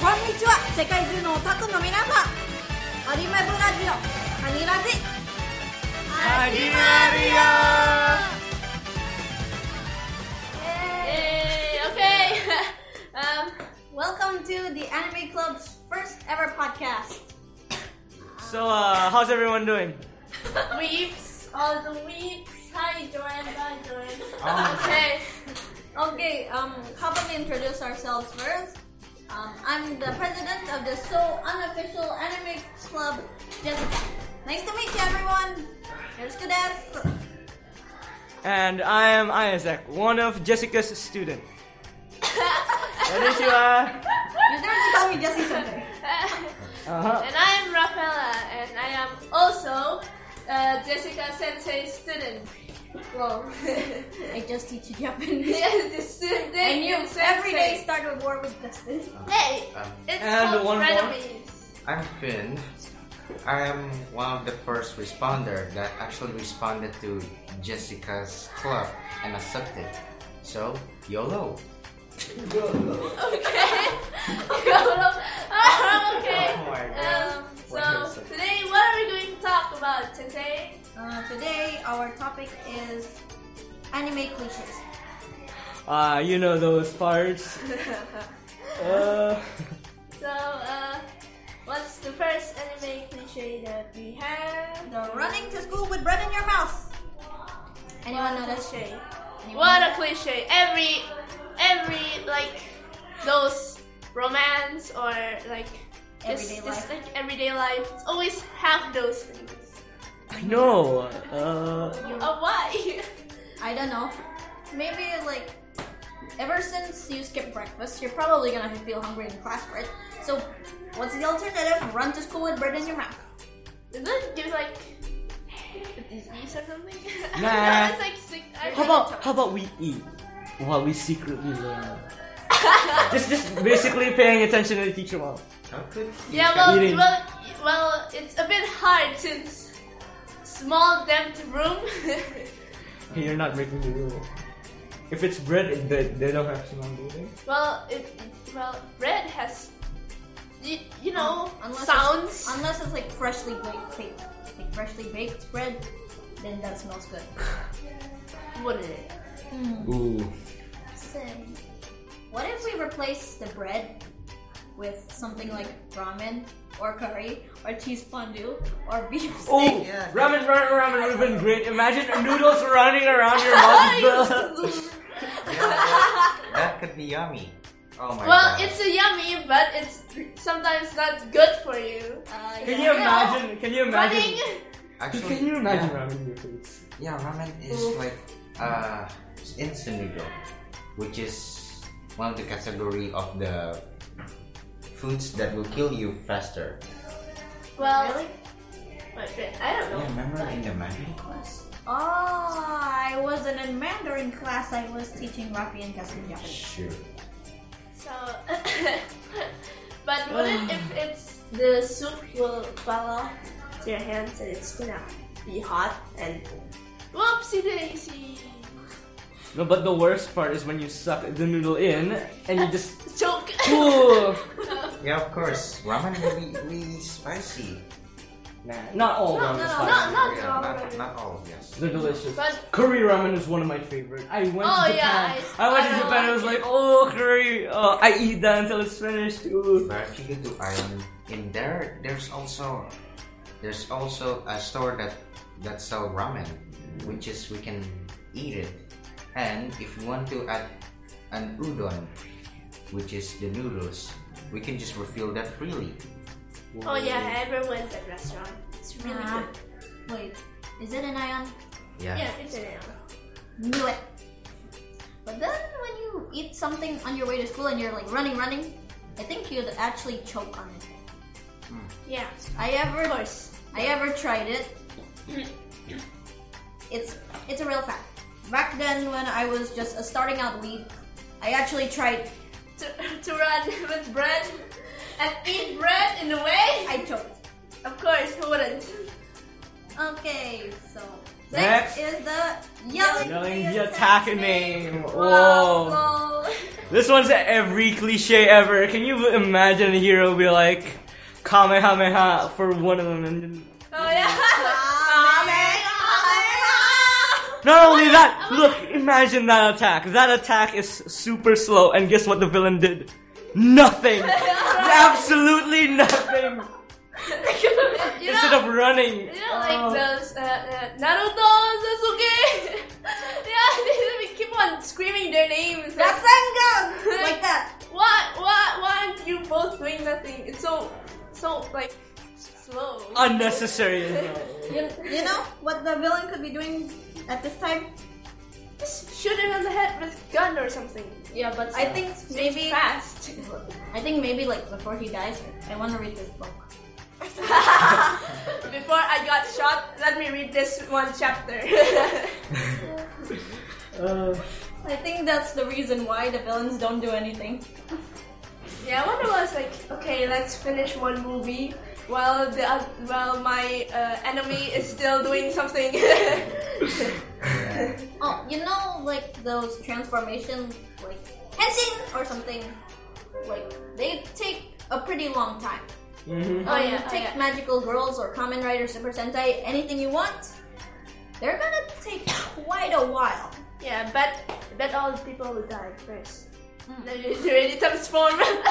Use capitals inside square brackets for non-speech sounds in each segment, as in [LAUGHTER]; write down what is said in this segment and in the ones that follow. こんにちは世界中のオタクの皆さんアリマブラジオハニラジ始 Yay, [LAUGHS] okay. um, Welcome to the Anime Club's first ever podcast So, uh, how's everyone doing? weeps, all Oh, the weeps. Hi, Joanne. Hi, Joanne. [LAUGHS] Okay. Okay, um, how about we introduce ourselves first? Um, I'm the president of the so unofficial anime club, Jessica. Nice to meet you, everyone. Here's Kadesh. And I am Isaac, one of Jessica's students. Konnichiwa. [LAUGHS] You dare to call me Jessie something. Uh-huh. and I am Rafaela, and I am also uh, Jessica Sensei's student. Whoa. I just teach you [LAUGHS] Japanese. [LAUGHS] yes, the student And you sensei. every day start with war with Justin. Hey, it's And called one more. frenemies. [LAUGHS] Um, I'm Finn. I am one of the first responder that actually responded to Jessica's club and accepted. So, YOLO. [LAUGHS] Okay. oh, okay. Oh my Um, What is so it? today, what are we going to talk about, Sensei? Uh, today, our topic is anime cliches. [LAUGHS] Uh, you know those parts. Uh, So, uh, what's the first anime cliche that we have? The running to school with bread in your mouth. Anyone know that shit? What a cliche! Every, every like those romance or like just, Everyday just life. like everyday life. It's always have those things. no. Uh, Uh, why? [LAUGHS] I don't know. Maybe like ever since you skipped breakfast, you're probably gonna feel hungry in class, right? So what's the alternative? Run to school with bread in your mouth. Doesn't it give like a disease or something? [LAUGHS] I don't know, Nah. it's like sick. I how really about how about don't- we eat while we secretly learn? just just basically paying attention to the teacher while. How could Yeah, well, eating? well, well, it's a bit hard since small damped room. [LAUGHS] Hey, you're not breaking the rule. If it's bread, they, they don't have shingon, do they? Well, it, well, bread has, you, you know, Unless sounds. It's, unless it's like freshly baked, baked, like freshly baked bread, then that smells good. Wouldn't it? Ooh. So, what if we replace the bread with something like ramen or curry or cheese fondue or beef Oh, steak? Yeah. ramen, ramen, ramen would have been great. Imagine noodles running around your [LAUGHS] [LAUGHS] mouth. that could be yummy? Oh my well, god. it's a yummy, but it's sometimes not good for you. Uh, can yeah. you imagine? Can you imagine? Running. actually Can you imagine yeah, ramen in your face? yeah, ramen is Oof. like uh instant noodle, which is one of the category of the foods that will kill you faster. Well, Really? wait, wait, I don't Yeah, know. remember in the Mandarin class? Oh, ah, I wasn't in Mandarin class. I was teaching Rafi and Justin Japanese. Sure. So, [LAUGHS] but wouldn't if it's Mm. the soup will fall off to your hands and it's gonna be hot and whoopsie daisy No, but the worst part is when you suck the noodle in and you [LAUGHS] just. choke. Ooh. Yeah, of course. Ramen will be really spicy. Nah, not all No, ramen is no, fine. no, no. Yeah, not, not all, yes. They're delicious. [LAUGHS] But- curry ramen is one of my favorite. I went Oh, to Japan. yeah, I, I- went I to don't Japan. I like was it. like, oh, curry. Oh, I eat that until it's finished. Ooh. But if you go to Ireland, in there, there's also there's also a store that that sell ramen, which is we can eat it. And if you want to add an udon, which is the noodles, we can just refill that freely. oh yeah, I ever went to that restaurant. It's really Nah. good. Wait, is it an ion? Yeah. Yeah, it's an ale. Knew it. But then when you eat something on your way to school and you're like running, running, I think you'd actually choke on it. Yeah, I ever of course. I ever tried it. [CLEARS THROAT] It's it's a real fact. Back then, when I was just a starting out weeb, I actually tried. To, to [LAUGHS] run with bread and eat bread in a way? I choked. Of course, who wouldn't? Okay, so Next. next, is the yelling, Yelling the the attack name. Wow, Whoa. [LAUGHS] lol. This one's every cliche ever. Can you imagine a hero be like Kamehameha for one of them? And Oh yeah. Kamehameha! not only that, look, imagine that attack. That attack is super slow, and guess what the villain did? [LAUGHS] Nothing. Absolutely nothing. [LAUGHS] you Instead know, of running. Oh. you know Oh. like those uh, uh, Naruto, Sasuke. [LAUGHS] yeah, they they keep on screaming their names. [LAUGHS] Like, Rasengan! Like that. why, why, why aren't you both doing nothing? It's so, so like slow. Uh, [LAUGHS] Unnecessary. as well. You, you know what the villain could be doing at this time? Just shoot him in the head with gun or something. Yeah, but I think maybe fast. I think maybe like before he dies, I want to read his book. [LAUGHS] Before I got shot, let me read this one chapter. Uh, I think that's the reason why the villains don't do anything. [LAUGHS] yeah, one was like, okay, let's finish one movie while the oth- while my uh, enemy is still doing [LAUGHS] something. Yeah. Oh, you know, like those transformations, like henshin or something, like they take a pretty long time. Mhm. Oh, Um, yeah, oh, take yeah. Magical Girls or Kamen Rider Super Sentai, anything you want. They're gonna take quite a while. yeah, but but all the people will die first. Then it [LAUGHS] really transform. Hmm.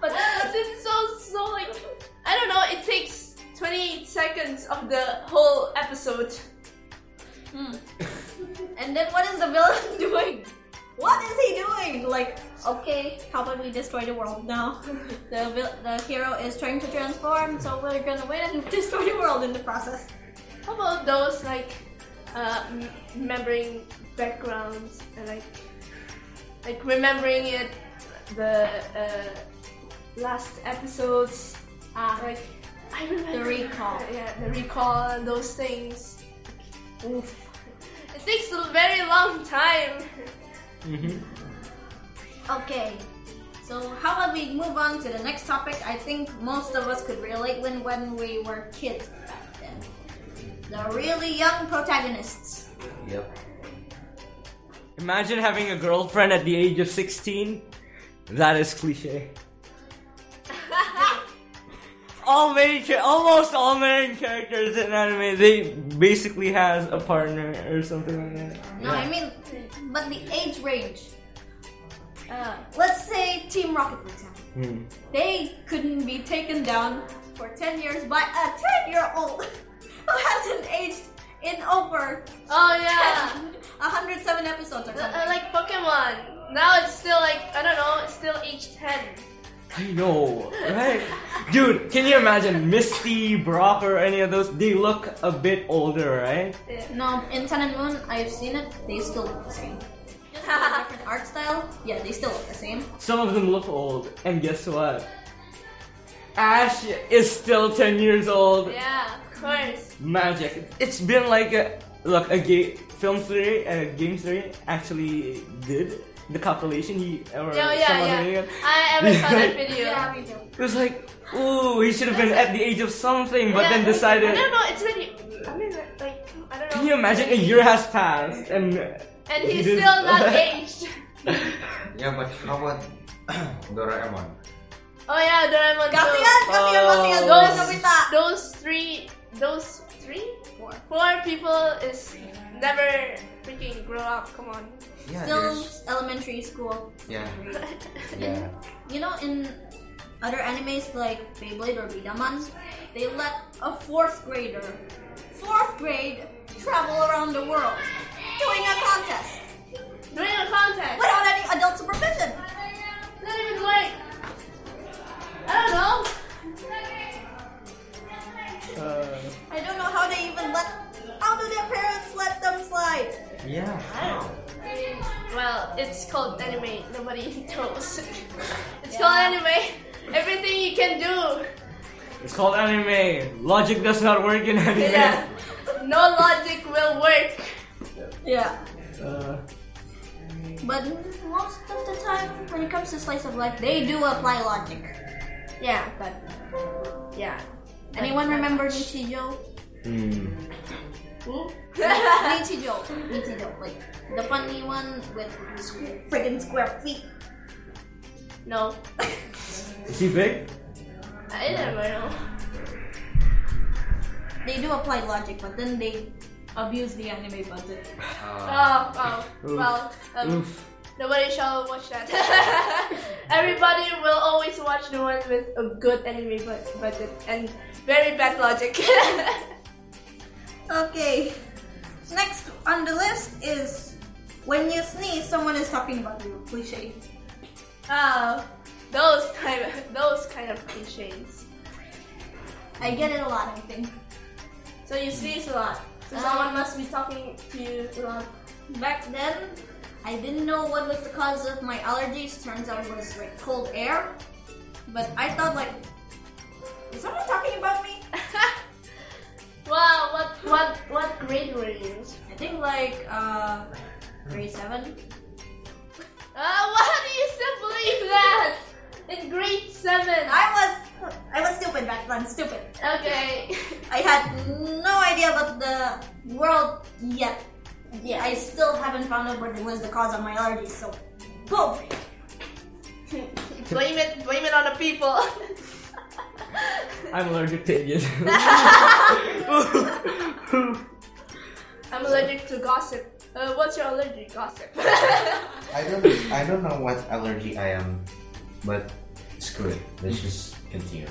but that is so so like I don't know. It takes twenty seconds of the whole episode. And then what is the villain [LAUGHS] doing? What is he doing? Like, okay, how about we destroy the world now? [LAUGHS] The vil- the hero is trying to transform, so we're gonna win and [LAUGHS] destroy the world in the process. How about those like uh, m- remembering backgrounds and like like remembering it the uh, last episodes uh, Ah, like I remember The recall. yeah the recall and those things. Oof. It takes a very long [LAUGHS] time. Mhm. okay. So how about we move on to the next topic? I think most of us could relate when when we were kids back then. The really young protagonists. Yep. Imagine having a girlfriend at the age of 16. That is cliche. all main, cha- almost all main characters in anime, they basically has a partner or something like that. No, I mean, but the age range. Uh, Let's say Team Rocket, for example. Hmm. They couldn't be taken down for 10 years by a 10 year old [LAUGHS] who hasn't aged in over oh [LAUGHS] yeah, 107 episodes or Uh, uh, something. like Pokemon. Now it's still like I don't know, it's still age ten. I know, right? Dude, can you imagine Misty, Brock, or any of those? They look a bit older, right? No, in Sun and Moon, I've seen it, they still look the [LAUGHS] same. Just with a different art style, yeah, they still look the same. Some of them look old, and guess what? Ash is still 10 years old. Yeah, of course. magic. It's been like a look a ga- film theory and a game theory actually did the calculation. He or Yeah, someone yeah, doing yeah. it. I ever saw that video. me too. It was like, ooh, he should have been at the age of something, [LAUGHS] but Yeah, then decided. I don't know. It's really. I mean, like I don't know. Can you imagine? A year has passed, and And he he's did- still [LAUGHS] not aged. Yeah, but how about [COUGHS] Doraemon? Oh yeah, Doraemon. Kasihan, kasihan, kasihan. Don't Oh. Nobita. Those, those three, those three, Four. four people is never freaking grow up. Come on. [LAUGHS] Yeah, Still there's elementary school. [LAUGHS] yeah, yeah. You know, in other animes like Beyblade or Bidaman, they let a fourth grader, fourth grade, travel around the world doing a contest Doing a contest. without any adult supervision. Not even like. I don't know. uh, I don't know how they even let, how do their parents let them slide? Yeah. Well, it's called anime. Nobody [LAUGHS] knows. it's called anime. Everything you can do. it's called anime. Logic does not work in anime. Yeah. No logic will work. Yeah. Uh, But most of the time, when it comes to slice of life, they do apply logic. Yeah, but yeah. [LAUGHS] Anyone remember Nichijou? Hmm. Nietzsche joke. Nietzsche joke. Like the funny one with square, friggin' square feet. [LAUGHS] no. Is he big? I never know. They do apply logic, but then they abuse the anime budget. Uh, Oh, oh. Well, um, Oof. nobody shall watch that. [LAUGHS] Everybody will always watch the one with a good anime bu- budget and very bad logic. [LAUGHS] Okay. Next on the list is when you sneeze, someone is talking about you. Cliche. oh, those kind of, those kind of cliches. I get it a lot. I think. So you sneeze a lot. So Um, someone must be talking to you a lot. [LAUGHS] Back then, I didn't know what was the cause of my allergies. Turns out it was like cold air. But I thought like, is someone talking about me? wow, what what what grade were you? I think like uh, grade seven. Uh, why do you still believe that? In grade seven. I was I was stupid back then. Stupid. Okay. I had no idea about the world yet. Yeah, I still haven't found out what was the cause of my allergies. So, boom. [LAUGHS] blame it. Blame it on the people. I'm allergic to idiots. [LAUGHS] I'm allergic to gossip. Uh, what's your allergic gossip? [LAUGHS] I don't I don't know what allergy I am, but screw it. Let's just continue.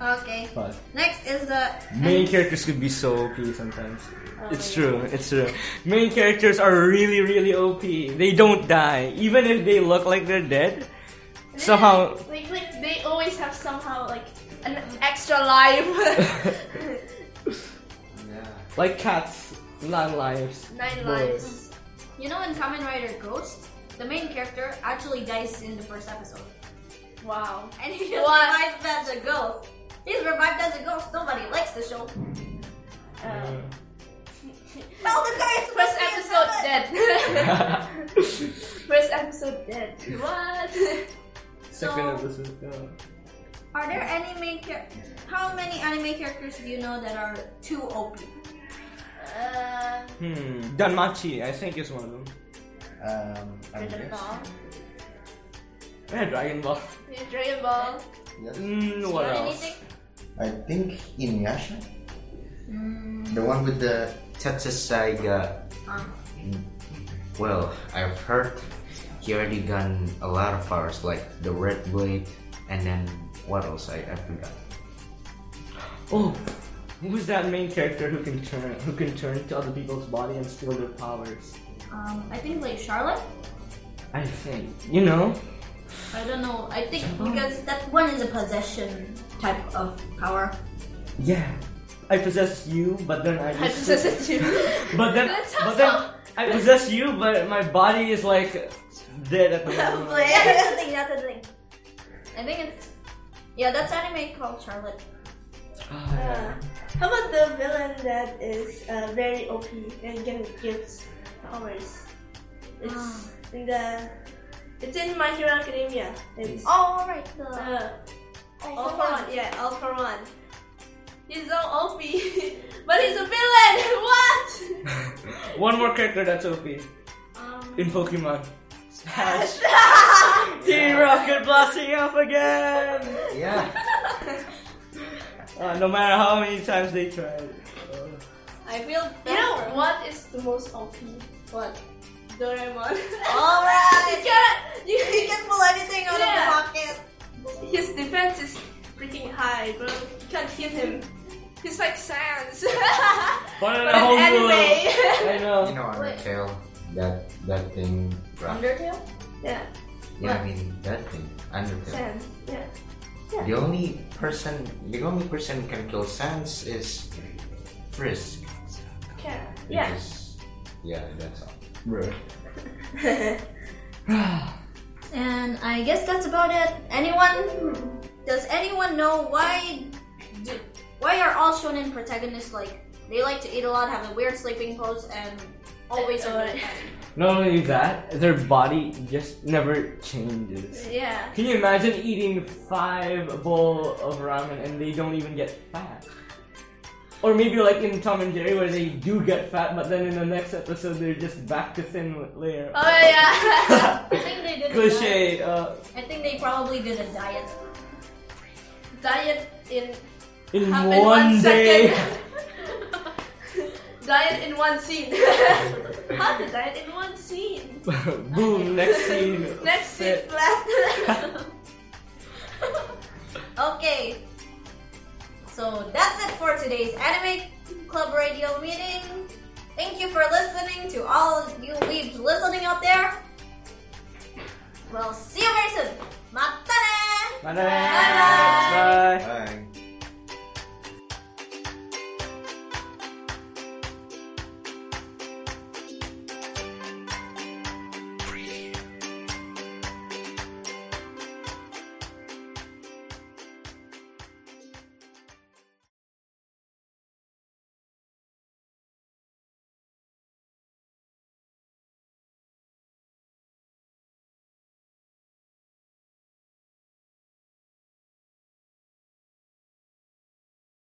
Okay. But Next is the main characters could be so OP sometimes. It's true, it's true. Main characters are really, really OP. They don't die. Even if they look like they're dead, somehow. like, like they always have somehow like an extra life. Yeah. Like cats, nine lives. [LAUGHS] [LAUGHS] Nine Well, lives. you know in Kamen Rider Ghost, the main character actually dies in the first episode, Wow. and he just What? revived as a ghost. He's revived as a ghost. Nobody likes the show. Uh, Well, the guy is supposed [LAUGHS] first to be a episode seven. dead. [LAUGHS] First episode dead. [LAUGHS] What? Second episode. yeah. Are there any main char- How many anime characters do you know that are too OP? [LAUGHS] uh, Hmm. Danmachi, I think, is one of them. Um, I'm Dragon just- Ball. Yeah, Dragon Ball. Yeah, Dragon Ball. yes. Mm, what Or else? Uh, anything? I think Inuyasha, the one with the Tatsasaiga. Um, Well, I've heard he already gotten a lot of powers, like the Red Blade, and then what else? I, I forgot. Oh, who's that main character who can turn who can turn to other people's body and steal their powers? um, I think like Charlotte. I think you know. I don't know. I think because that one is a possession type of power. Yeah, I possess you, but then [LAUGHS] I I just possess it too. [LAUGHS] but then That sounds but then I possess you, but my body is like dead [LAUGHS] at the moment. But yeah, [LAUGHS] that's the thing. That's the thing. I think it's yeah. That's anime called Charlotte. uh. Ah, yeah. How about the villain that is uh, very OP and can gives powers? It's in the. It's in My Hero Academia. It's Oh right. The, uh, oh, all for for one. one. Yeah, all for one. He's so OP, [LAUGHS] but he's a villain. [LAUGHS] What? One more character that's OP Um, in Pokemon. Ash. [LAUGHS] Team Rocket blasting up again. Yeah. Uh, no matter how many times they try. Uh, I feel [LAUGHS] You bad know for- what is the most OP? What? [LAUGHS] Doraemon. All you right. can't. [LAUGHS] You, He can pull anything out Yeah. of the pocket. His defense is freaking high, bro. You can't hit him. He's like Sans. [LAUGHS] But in But a home an rule. anime. I know. You know, Undertale, that that thing. Right? Undertale. yeah, Yeah, I mean that thing. Undertale. [LAUGHS] Sans. Yeah. The only person, the only person who can kill Sans is Frisk. Can. Yeah. Because- yeah, that's all. [LAUGHS] And I guess that's about it. Anyone? Does anyone know why? Do, why are all shonen protagonists like? They like to eat a lot, have a weird sleeping pose, and always are. good at fighting. Not only that, their body just never changes. yeah. Can you imagine eating five bowl of ramen and they don't even get fat? Or maybe like in Tom and Jerry where they do get fat, but then in the next episode they're just back to thin layer. Oh yeah. [LAUGHS] I think they did. a diet. [LAUGHS] Cliche. Uh, I think they probably did a diet. Diet in in happened one day. [LAUGHS] second. diet in one scene. [LAUGHS] How to diet in one scene? Boom. Next scene. Next Fit. scene flat. [LAUGHS] Okay. So that's it for today's Anime Club Radio meeting. Thank you for listening to all you weebs listening out there. We'll see you very soon. Mata ne! Bye.